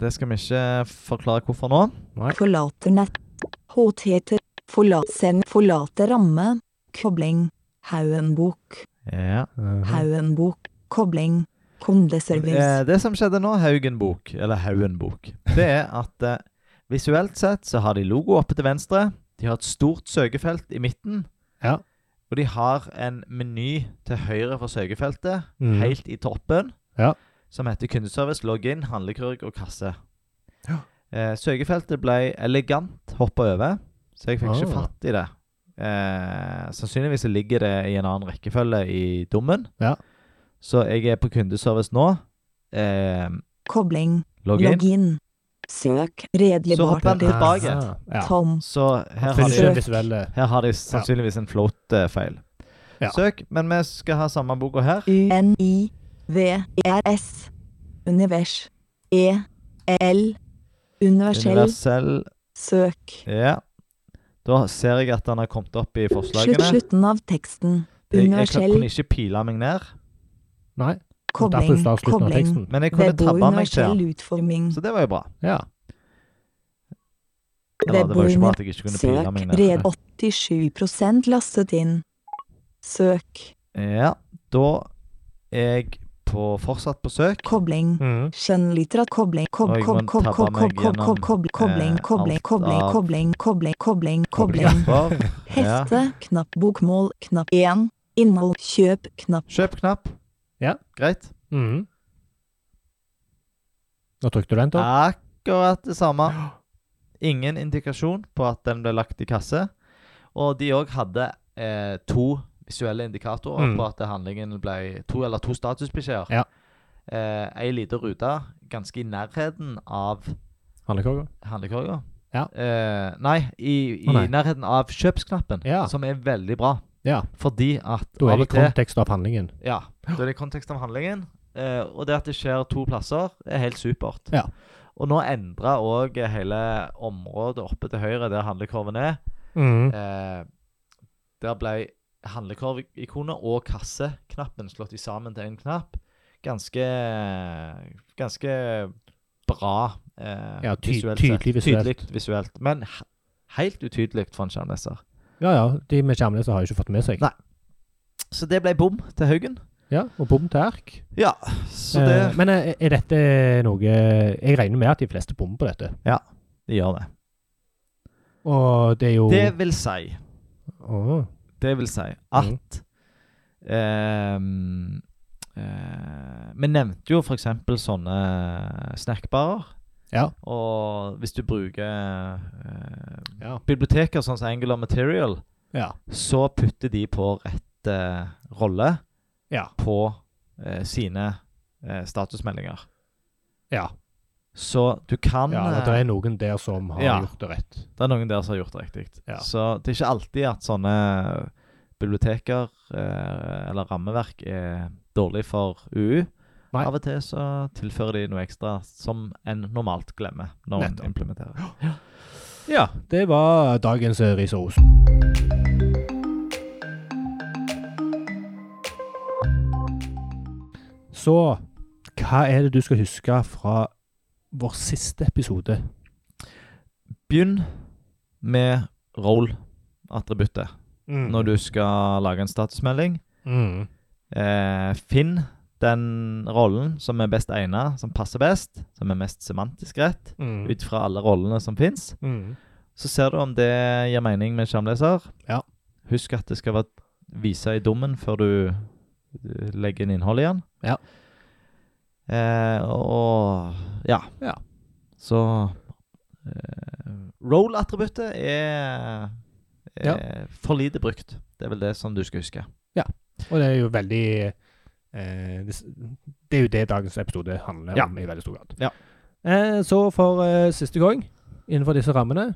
[SPEAKER 1] Det skal vi ikke forklare hvorfor nå.
[SPEAKER 2] Nei.
[SPEAKER 3] Forlater nett. HTT. Forlat send. Forlater ramme. Kobling. Haugenbok.
[SPEAKER 1] Ja.
[SPEAKER 2] Mhm.
[SPEAKER 3] Haugenbok. Kobling. Kundeservice.
[SPEAKER 1] Eh, Det som skjedde nå, Haugen Bok, eller Haugen Bok, det er at eh, visuelt sett så har de logo oppe til venstre. De har et stort søkefelt i midten.
[SPEAKER 2] Ja.
[SPEAKER 1] Og de har en meny til høyre for søkefeltet,
[SPEAKER 2] Mhm.
[SPEAKER 1] helt i toppen.
[SPEAKER 2] Ja.
[SPEAKER 1] som heter kundeservice, login, handlekurv og kasse.
[SPEAKER 2] Ja.
[SPEAKER 1] Eh, søkefeltet ble elegant hoppa over, så jeg fikk ikke
[SPEAKER 2] Ah.
[SPEAKER 1] fatt i det. Eh, sannsynligvis så ligger det i en annen rekkefølge i dommen.
[SPEAKER 2] Ja.
[SPEAKER 1] Så jeg er på kundeservice nå. Eh,
[SPEAKER 3] Kobling.
[SPEAKER 1] logg inn.
[SPEAKER 3] Login. Søk.
[SPEAKER 1] Så hopper han
[SPEAKER 3] Redelig
[SPEAKER 1] tilbake.
[SPEAKER 2] Ja.
[SPEAKER 3] Tom.
[SPEAKER 1] Så her
[SPEAKER 2] Finnes
[SPEAKER 1] har
[SPEAKER 2] ikke
[SPEAKER 1] de,
[SPEAKER 3] Søk.
[SPEAKER 2] den visuelle
[SPEAKER 1] her har de sannsynligvis en flott eh, feil.
[SPEAKER 2] Ja.
[SPEAKER 1] Søk, men vi skal ha samme boka her.
[SPEAKER 3] U-N-I-V-E-R-S. E Univers. E-L. Universell
[SPEAKER 1] Universell
[SPEAKER 3] søk.
[SPEAKER 1] Ja. Da ser jeg at han har kommet opp i
[SPEAKER 3] Slutt,
[SPEAKER 1] forslagene.
[SPEAKER 3] slutten av teksten.
[SPEAKER 1] Jeg, jeg kla-
[SPEAKER 3] Universell
[SPEAKER 1] kunne ikke pile meg ned,
[SPEAKER 2] Nei. Derfor
[SPEAKER 3] kobling.
[SPEAKER 2] sa jeg slutten av
[SPEAKER 3] Kobling.
[SPEAKER 2] teksten.
[SPEAKER 1] men jeg kunne
[SPEAKER 3] Web og
[SPEAKER 1] tabbe meg til
[SPEAKER 3] universell
[SPEAKER 1] den.
[SPEAKER 3] utforming.
[SPEAKER 1] Så det var jo bra.
[SPEAKER 2] Ja.
[SPEAKER 1] Eller, det var jo ikke bra at jeg ikke kunne
[SPEAKER 3] Søk.
[SPEAKER 1] pile meg
[SPEAKER 3] Red
[SPEAKER 1] ned.
[SPEAKER 3] 87 lastet inn. Søk.
[SPEAKER 1] Ja, da er jeg på, fortsatt på søk.
[SPEAKER 3] Kobling.
[SPEAKER 2] Mhm.
[SPEAKER 3] Skjønnlitterat kobling kob
[SPEAKER 1] Og jeg
[SPEAKER 3] kob
[SPEAKER 1] må
[SPEAKER 3] kob
[SPEAKER 1] tabbe
[SPEAKER 3] kob
[SPEAKER 1] meg
[SPEAKER 3] kob kob kob kob kobling
[SPEAKER 1] gjennom, eh,
[SPEAKER 3] kobling
[SPEAKER 1] alt
[SPEAKER 3] kobling
[SPEAKER 1] av-
[SPEAKER 3] kobling kobling kobling kobling
[SPEAKER 1] Kobling. Ja.
[SPEAKER 3] Heste knapp bokmål knapp 1 innhold kjøp knapp
[SPEAKER 1] Kjøp knapp.
[SPEAKER 2] Ja.
[SPEAKER 1] Greit.
[SPEAKER 2] Mhm. Nå trykte du den, Tom.
[SPEAKER 1] Akkurat det
[SPEAKER 2] (gasps)
[SPEAKER 1] samme. Ingen indikasjon på at den ble lagt i kasse. Og de òg hadde eh, to visuelle indikatorer
[SPEAKER 2] Mm.
[SPEAKER 1] på at handlingen ble to eller to statusbeskjeder.
[SPEAKER 2] Ja.
[SPEAKER 1] Eh, ei lita rute ganske i nærheten av
[SPEAKER 2] Handlekorga.
[SPEAKER 1] handlekorga.
[SPEAKER 2] Ja.
[SPEAKER 1] Eh, nei, i, i
[SPEAKER 2] Å, nei.
[SPEAKER 1] nærheten av kjøpsknappen,
[SPEAKER 2] Ja.
[SPEAKER 1] som er veldig bra.
[SPEAKER 2] Ja.
[SPEAKER 1] Fordi at
[SPEAKER 2] Da er
[SPEAKER 1] av og
[SPEAKER 2] det
[SPEAKER 1] til
[SPEAKER 2] kontekst av handlingen.
[SPEAKER 1] ja, da er det kontekst av handlingen. eh, og det at det skjer to plasser, er helt supert.
[SPEAKER 2] Ja.
[SPEAKER 1] Og nå endra òg hele området oppe til høyre, der handlekorven er.
[SPEAKER 2] Mhm.
[SPEAKER 1] Eh, der ble handlekorvikonet og kasseknappen slått i sammen til én knapp. Ganske Ganske bra eh,
[SPEAKER 2] Ja, ty
[SPEAKER 1] visuelt sett.
[SPEAKER 2] tydelig visuelt.
[SPEAKER 1] Tydelig visuelt. Men he- helt utydelig for en skjermleser.
[SPEAKER 2] Ja, ja. De med skjermleser har jo ikke fått med seg.
[SPEAKER 1] Nei. Så det ble bom til Haugen.
[SPEAKER 2] Ja, Og bom til ark.
[SPEAKER 1] Ja, så det
[SPEAKER 2] Eh, men eh, er dette noe Jeg regner med at de fleste bommer på dette.
[SPEAKER 1] de gjør det.
[SPEAKER 2] Og det er jo
[SPEAKER 1] Det Ah. vil si
[SPEAKER 2] Åh. mm.
[SPEAKER 1] Det vil si at ehm, eh, Vi nevnte jo f.eks. sånne snackbarer.
[SPEAKER 2] Ja.
[SPEAKER 1] Og hvis du bruker eh,
[SPEAKER 2] Ja.
[SPEAKER 1] biblioteker sånn som Angular Material,
[SPEAKER 2] ja.
[SPEAKER 1] så putter de på rett eh, rolle
[SPEAKER 2] Ja.
[SPEAKER 1] på eh, sine eh, statusmeldinger.
[SPEAKER 2] Ja.
[SPEAKER 1] Så du kan
[SPEAKER 2] ja
[SPEAKER 1] eh,
[SPEAKER 2] det er noen der som har
[SPEAKER 1] Ja.
[SPEAKER 2] gjort det rett.
[SPEAKER 1] Det er noen der som har gjort det riktig.
[SPEAKER 2] Ja.
[SPEAKER 1] Så det er ikke alltid at sånne eh, biblioteker eh, eller rammeverk er dårlig for UU.
[SPEAKER 2] Nei.
[SPEAKER 1] Av og til så tilfører de noe ekstra som en normalt glemmer når en
[SPEAKER 2] Nettopp.
[SPEAKER 1] implementerer.
[SPEAKER 2] Ja, det var dagens eh, ris og ros. Så hva er det du skal huske fra vår siste episode?
[SPEAKER 1] Begynn med roll-attributtet når du skal lage en statusmelding.
[SPEAKER 2] Mm.
[SPEAKER 1] Eh, finn den rollen som er best egnet, som passer best, som er mest semantisk rett,
[SPEAKER 2] Mm.
[SPEAKER 1] ut fra alle rollene som fins.
[SPEAKER 2] Mm.
[SPEAKER 1] Så ser du om det gir mening med skjermleser.
[SPEAKER 2] Ja.
[SPEAKER 1] Husk at det skal være vise i dommen før du eh, legger inn innholdet igjen.
[SPEAKER 2] Ja.
[SPEAKER 1] Eh, og ja.
[SPEAKER 2] Ja.
[SPEAKER 1] Så eh, Roll-attributtet er, er for lite brukt. Det er vel det som du skal huske.
[SPEAKER 2] Og det er jo veldig eh, det, s- det er jo det dagens episode handler
[SPEAKER 1] Ja.
[SPEAKER 2] om i veldig stor grad.
[SPEAKER 1] Ja.
[SPEAKER 2] Eh, så for eh, siste gang, innenfor disse rammene,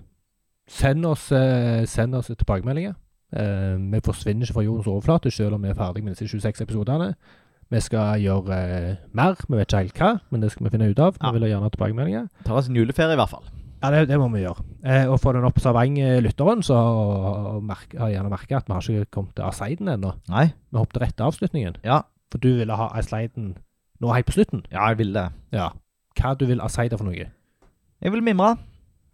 [SPEAKER 2] send oss, eh, send oss tilbakemeldinger. Eh, vi forsvinner ikke fra jordens overflate selv om vi er ferdig med disse 26 episodene. Vi skal gjøre eh, mer, vi vet ikke helt hva, men det skal vi finne ut av.
[SPEAKER 1] Ja.
[SPEAKER 2] Vi vil gjerne ha tilbakemeldinger.
[SPEAKER 1] Tar oss en juleferie, i hvert fall.
[SPEAKER 2] Ja, det, det må vi gjøre. Eh, og for den observant eh, lytteren, så merk- har jeg gjerne merket at vi har ikke kommet til Aseiden ennå.
[SPEAKER 1] Nei?
[SPEAKER 2] Vi hoppet rett til avslutningen.
[SPEAKER 1] Ja.
[SPEAKER 2] For du ville ha sliden nå helt på slutten.
[SPEAKER 1] Ja, jeg vil det.
[SPEAKER 2] Ja. Hva du vil asleide for noe.
[SPEAKER 1] Jeg vil mimre.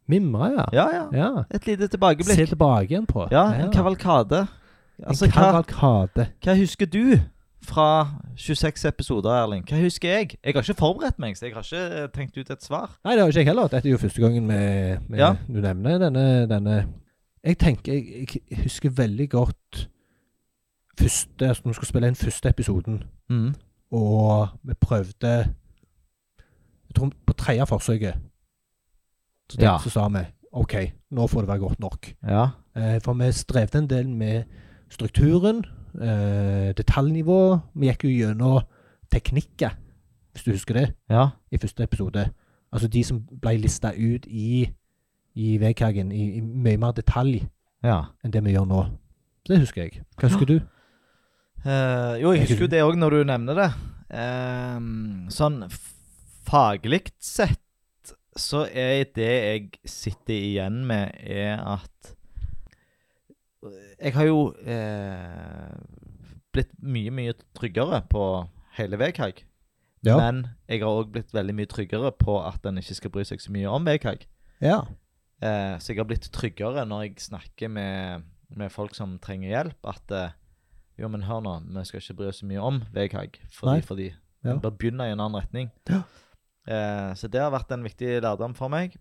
[SPEAKER 2] Mimre, ja.
[SPEAKER 1] Ja, ja.
[SPEAKER 2] ja.
[SPEAKER 1] Et lite
[SPEAKER 2] Se
[SPEAKER 1] tilbakeblikk.
[SPEAKER 2] tilbake igjen på.
[SPEAKER 1] Ja, en kavalkade. Altså,
[SPEAKER 2] en
[SPEAKER 1] hva
[SPEAKER 2] kavalkade.
[SPEAKER 1] Hva husker du fra 26 episoder, Erling? Hva husker jeg? Jeg har ikke forberedt meg, så jeg har ikke eh, tenkt ut et svar.
[SPEAKER 2] Nei, det har ikke jeg heller. Dette er jo første gangen vi, vi,
[SPEAKER 1] Ja.
[SPEAKER 2] du nevner denne, denne Jeg tenker jeg, jeg
[SPEAKER 1] Mm.
[SPEAKER 2] husker veldig godt første altså, Når vi skulle spille inn første episoden, og vi prøvde Jeg tror på tredje forsøket så, tenkte,
[SPEAKER 1] Ja.
[SPEAKER 2] så sa vi OK, nå får det være godt nok.
[SPEAKER 1] Ja.
[SPEAKER 2] Eh, for vi strevde en del med strukturen, eh, detaljnivå. Vi gikk jo gjennom teknikker, hvis du husker det,
[SPEAKER 1] Ja.
[SPEAKER 2] i første episode. Altså de som ble lista ut i, i Veghagen i, i mye mer detalj
[SPEAKER 1] ja.
[SPEAKER 2] enn det vi gjør nå. Så det husker jeg. Hva husker du?
[SPEAKER 1] Eh, jo, jeg husker jo det òg når du nevner det. Ehm, sånn f- faglig sett så er det jeg sitter igjen med, er at Jeg har jo eh, blitt mye, mye tryggere på hele Veghaug.
[SPEAKER 2] Ja.
[SPEAKER 1] Men jeg har òg blitt veldig mye tryggere på at en ikke skal bry seg så mye om Veghaug.
[SPEAKER 2] ja.
[SPEAKER 1] Eh, så jeg har blitt tryggere når jeg snakker med, med folk som trenger hjelp, at eh, jo, men hør nå, vi skal ikke bry oss så mye om Veghaug,
[SPEAKER 2] Nei.
[SPEAKER 1] fordi, fordi
[SPEAKER 2] Ja.
[SPEAKER 1] vi bør begynne i en annen retning.
[SPEAKER 2] Ja.
[SPEAKER 1] Eh, så det har vært en viktig lærdom for meg.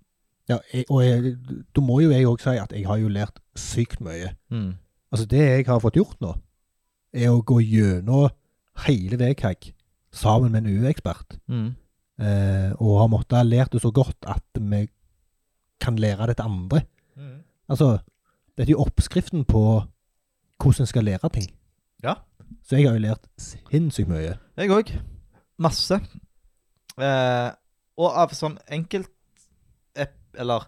[SPEAKER 2] ja jeg, og jeg, da må jo jeg òg si at jeg har jo lært sykt mye.
[SPEAKER 1] Mm.
[SPEAKER 2] Altså, det jeg har fått gjort nå, er å gå gjennom hele Veghaug sammen med en UE-ekspert.
[SPEAKER 1] Mm.
[SPEAKER 2] Eh, og har måttet ha lært det så godt at vi kan lære det til andre.
[SPEAKER 1] Mm.
[SPEAKER 2] Altså, dette er jo oppskriften på hvordan en skal lære ting.
[SPEAKER 1] Ja.
[SPEAKER 2] Så jeg har jo lært sinnssykt mye.
[SPEAKER 1] Jeg òg. Masse. Eh, og av sånn enkelt ep- Eller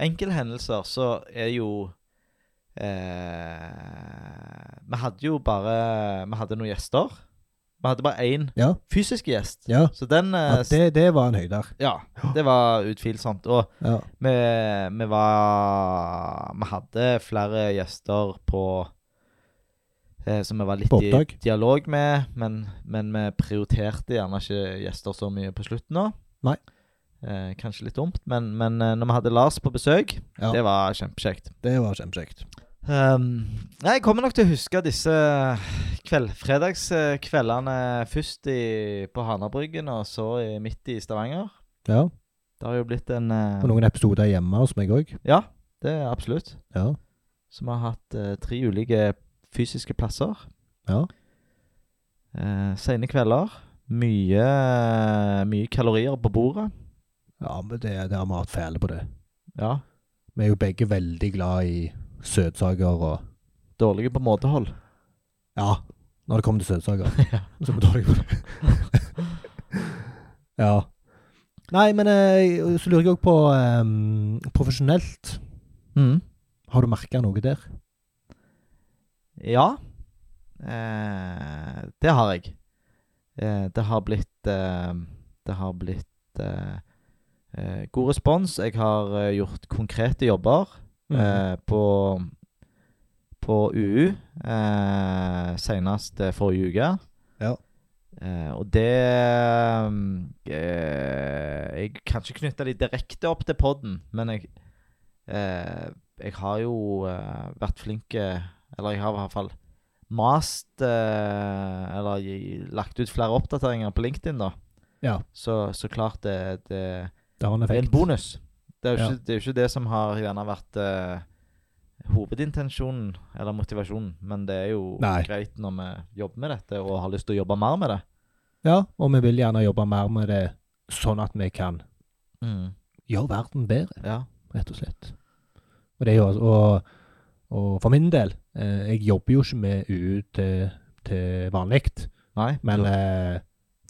[SPEAKER 1] enkelthendelser så er jo eh, Vi hadde jo bare Vi hadde noen gjester. Vi hadde bare én
[SPEAKER 2] Ja.
[SPEAKER 1] fysisk gjest.
[SPEAKER 2] Ja.
[SPEAKER 1] Så den eh,
[SPEAKER 2] ja det, det var en høyder.
[SPEAKER 1] s- ja, det var utvilsomt. Og
[SPEAKER 2] Ja.
[SPEAKER 1] vi, vi var Vi hadde flere gjester på eh, Som vi var litt
[SPEAKER 2] På
[SPEAKER 1] i
[SPEAKER 2] oppdrag.
[SPEAKER 1] dialog med, men, men vi prioriterte gjerne ikke gjester så mye på slutten nå.
[SPEAKER 2] Nei.
[SPEAKER 1] Eh, kanskje litt dumt, men, men eh, når vi hadde Lars på besøk,
[SPEAKER 2] Ja.
[SPEAKER 1] det var kjempekjekt.
[SPEAKER 2] Det var kjempekjekt.
[SPEAKER 1] Ehm, nei, jeg kommer nok til å huske disse kveld, fredagskveldene først i, på Hanabryggen og så i, midt i Stavanger.
[SPEAKER 2] Ja.
[SPEAKER 1] Det har jo blitt en eh,
[SPEAKER 2] Og noen episoder hjemme hos meg òg.
[SPEAKER 1] Ja, det er absolutt.
[SPEAKER 2] Ja.
[SPEAKER 1] Så vi har hatt eh, tre ulike fysiske plasser.
[SPEAKER 2] Ja.
[SPEAKER 1] Eh, Sene kvelder. Mye, mye kalorier på bordet.
[SPEAKER 2] ja, men det, det har vi hatt fæle på det.
[SPEAKER 1] Ja.
[SPEAKER 2] Vi er jo begge veldig glad i søtsaker og
[SPEAKER 1] Dårlige på måtehold.
[SPEAKER 2] Ja, når det kommer til
[SPEAKER 1] (laughs)
[SPEAKER 2] søtsaker. Så må du dårlig på det. ja. Nei, men eh, så lurer jeg òg på eh, Profesjonelt, har du merka noe der?
[SPEAKER 1] Ja. Eh, det har jeg. Eh, det har blitt eh, Det har blitt eh, eh, god respons. Jeg har eh, gjort konkrete jobber.
[SPEAKER 2] Mhm.
[SPEAKER 1] eh, på, på UU eh, senest eh, forrige uke.
[SPEAKER 2] Ja.
[SPEAKER 1] Eh, og det mm, eh, Jeg kan ikke knytte de direkte opp til poden, men jeg, eh, jeg har jo eh, vært flink eh, Eller jeg har i hvert fall mast eh, Eller gi- lagt ut flere oppdateringer på LinkedIn, da.
[SPEAKER 2] Ja.
[SPEAKER 1] Så, så klart det, det
[SPEAKER 2] det har en
[SPEAKER 1] det er en
[SPEAKER 2] effekt.
[SPEAKER 1] bonus. Det er jo
[SPEAKER 2] Ja.
[SPEAKER 1] ikke, det, er jo ikke det som har gjerne vært eh, hovedintensjonen eller motivasjonen, men det er jo
[SPEAKER 2] Nei.
[SPEAKER 1] greit når vi jobber med dette og har lyst til å jobbe mer med det.
[SPEAKER 2] Ja, og vi vil gjerne jobbe mer med det, sånn at vi kan gjøre verden bedre,
[SPEAKER 1] Ja.
[SPEAKER 2] rett og slett. Og det er jo altså- og, og for min del, eh, jeg jobber jo ikke med UU til, til vanlig.
[SPEAKER 1] Nei.
[SPEAKER 2] Men eh,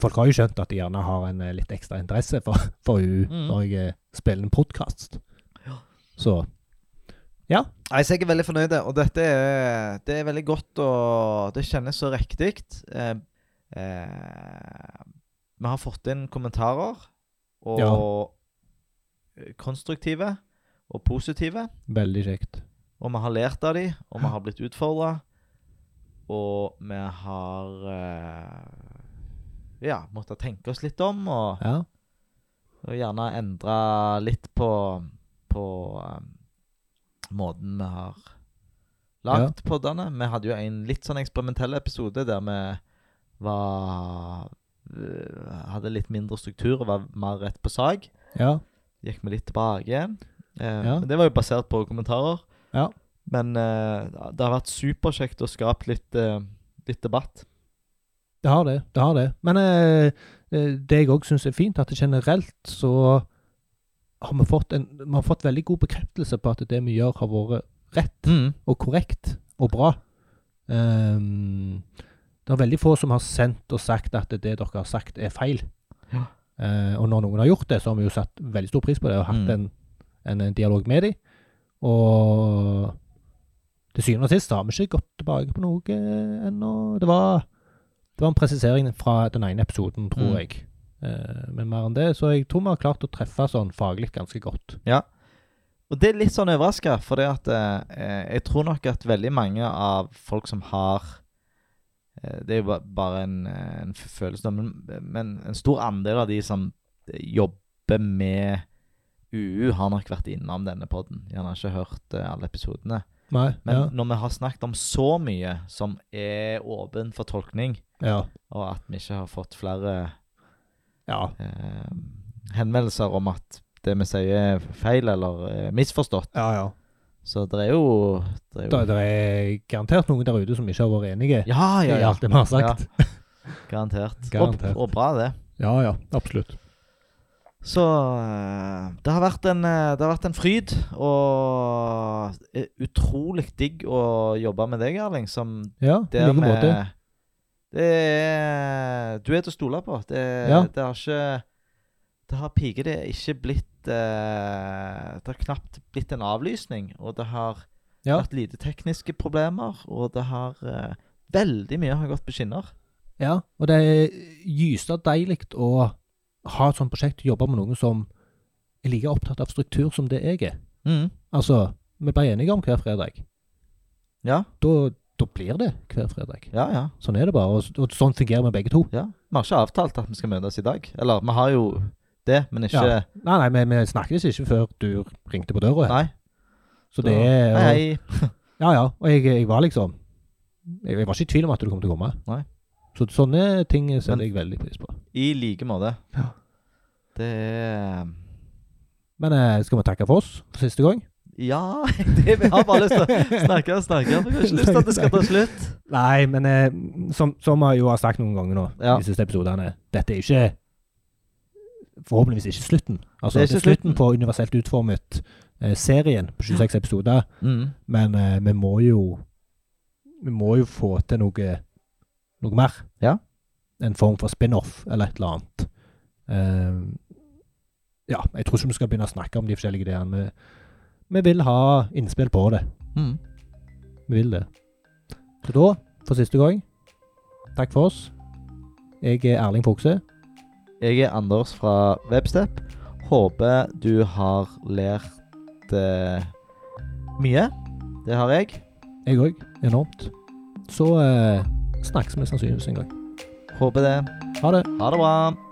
[SPEAKER 2] folk har jo skjønt at de gjerne har en eh, litt ekstra interesse for, (laughs) for EU
[SPEAKER 1] Mm.
[SPEAKER 2] når jeg eh, spiller en podkast.
[SPEAKER 1] Ja.
[SPEAKER 2] Så
[SPEAKER 1] Nei, så jeg er veldig fornøyd, og dette er, det er veldig godt, og det kjennes så riktig. Eh, eh, vi har fått inn kommentarer, og konstruktive og positive.
[SPEAKER 2] veldig kjekt.
[SPEAKER 1] Og vi har lært av de, og vi har blitt utfordra. Og vi har eh, ja, måttet tenke oss litt om, og,
[SPEAKER 2] Ja.
[SPEAKER 1] og gjerne endre litt på, på eh, måten vi har lagd poddene. Vi hadde jo en litt sånn eksperimentell episode der vi var eh, hadde litt mindre struktur og var mer rett på sak.
[SPEAKER 2] ja.
[SPEAKER 1] Gikk vi litt tilbake igjen. Eh,
[SPEAKER 2] Ja.
[SPEAKER 1] Men det var jo basert på kommentarer.
[SPEAKER 2] Ja.
[SPEAKER 1] Men eh, det har vært superkjekt og skapt litt, eh, litt debatt.
[SPEAKER 2] Det har det. det har det. Men eh, eh, det jeg òg syns er fint, at generelt så har vi fått, en, vi har fått veldig god bekreftelse på at det vi gjør, har vært rett
[SPEAKER 1] Mm.
[SPEAKER 2] og korrekt og bra. Ehm, det er veldig få som har sendt og sagt at det dere har sagt, er feil.
[SPEAKER 1] Ja.
[SPEAKER 2] Eh, og når noen har gjort det, så har vi jo satt veldig stor pris på det og hatt
[SPEAKER 1] Mm.
[SPEAKER 2] en, en, en dialog med dem. Og til syvende og sist har vi ikke gått tilbake på noe eh, ennå. Det var, det var en presisering fra den ene episoden, tror
[SPEAKER 1] Mm.
[SPEAKER 2] jeg. Eh, men mer enn det. Så jeg tror vi har klart å treffe sånn faglig ganske godt.
[SPEAKER 1] Og det er litt sånn overraska, for det at eh, jeg tror nok at veldig mange av folk som har eh, Det er jo ba- bare en, eh, en f- følelse, men, men en stor andel av de som eh, jobber med UU, har nok vært innom denne poden. Gjerne ikke hørt eh, alle episodene.
[SPEAKER 2] Nei,
[SPEAKER 1] Men når vi har snakket om så mye som er åpen for tolkning,
[SPEAKER 2] ja, ja.
[SPEAKER 1] og at vi ikke har fått flere
[SPEAKER 2] ja.
[SPEAKER 1] eh, henvendelser om at det vi sier er feil eller eh, misforstått,
[SPEAKER 2] Ja, ja.
[SPEAKER 1] så det er jo, det er jo
[SPEAKER 2] Det, det er garantert noen der ute som ikke har vært enige
[SPEAKER 1] Ja, ja,
[SPEAKER 2] i
[SPEAKER 1] ja.
[SPEAKER 2] alt det vi har sagt.
[SPEAKER 1] Garantert.
[SPEAKER 2] Garantert.
[SPEAKER 1] Og, og bra, det.
[SPEAKER 2] Ja, ja. Absolutt.
[SPEAKER 1] Så eh, det har vært en, eh, det har vært en fryd og eh, utrolig digg å jobbe med deg, Erling. Som
[SPEAKER 2] Ja, i
[SPEAKER 1] der
[SPEAKER 2] like
[SPEAKER 1] med
[SPEAKER 2] måte.
[SPEAKER 1] Det er Du er til å stole på. Det,
[SPEAKER 2] Ja.
[SPEAKER 1] det har ikke Det har pike det ikke blitt eh, Det har knapt blitt en avlysning, og det har
[SPEAKER 2] Ja.
[SPEAKER 1] vært lite tekniske problemer, og det har eh, Veldig mye har gått på skinner.
[SPEAKER 2] Ja, og det er gysa deilig å ha et sånt prosjekt, jobbe med noen som er like opptatt av struktur som det jeg er.
[SPEAKER 1] Mm.
[SPEAKER 2] Altså, vi ble enige om hver fredag.
[SPEAKER 1] Ja,
[SPEAKER 2] Da, da blir det hver fredag.
[SPEAKER 1] ja, ja.
[SPEAKER 2] Sånn er det bare, og, og sånn fungerer vi begge to.
[SPEAKER 1] Ja, Vi har ikke avtalt at vi skal møtes i dag. Eller vi har jo det, men ikke
[SPEAKER 2] Ja. Nei, nei, vi, vi snakkes ikke før du ringte på døra. her.
[SPEAKER 1] Nei.
[SPEAKER 2] Så det er
[SPEAKER 1] Hei, hei.
[SPEAKER 2] Ja, ja. Og jeg, jeg var liksom jeg, jeg var ikke i tvil om at du kom til å komme.
[SPEAKER 1] Nei.
[SPEAKER 2] Så sånne ting setter
[SPEAKER 1] Men-
[SPEAKER 2] jeg veldig pris på.
[SPEAKER 1] I like måte.
[SPEAKER 2] Ja.
[SPEAKER 1] Det er
[SPEAKER 2] Men eh, skal vi takke for oss for siste gang?
[SPEAKER 1] Ja, det, jeg har (laughs) bare lyst til å
[SPEAKER 2] (laughs)
[SPEAKER 1] snakke og snakke. Jeg har ikke lyst til at det skal ta slutt.
[SPEAKER 2] Nei, men eh, som, som jeg jo har sagt noen ganger nå,
[SPEAKER 1] Ja.
[SPEAKER 2] i de siste episodene, dette er ikke Forhåpentligvis ikke slutten. Altså,
[SPEAKER 1] Det er
[SPEAKER 2] det er
[SPEAKER 1] ikke
[SPEAKER 2] slutten
[SPEAKER 1] slutten.
[SPEAKER 2] på universelt utformet eh, serien på 26 episoder,
[SPEAKER 1] Mm.
[SPEAKER 2] men eh, vi må jo Vi må jo få til noe noe mer.
[SPEAKER 1] Ja.
[SPEAKER 2] En form for spin-off eller et eller annet. Eh, ja, jeg tror ikke vi skal begynne å snakke om de forskjellige ideene. Vi, vi vil ha innspill på det.
[SPEAKER 1] Mm.
[SPEAKER 2] Vi vil det. Så da, for siste gang, takk for oss. Jeg er Erling Fokse.
[SPEAKER 1] Jeg er Anders fra Webstep. Håper du har lært eh, mye. Det har jeg.
[SPEAKER 2] Jeg òg. Enormt. Så eh, snakkes vi sannsynligvis en gang.
[SPEAKER 1] Håper det.
[SPEAKER 2] Ha det.
[SPEAKER 1] Ha det bra.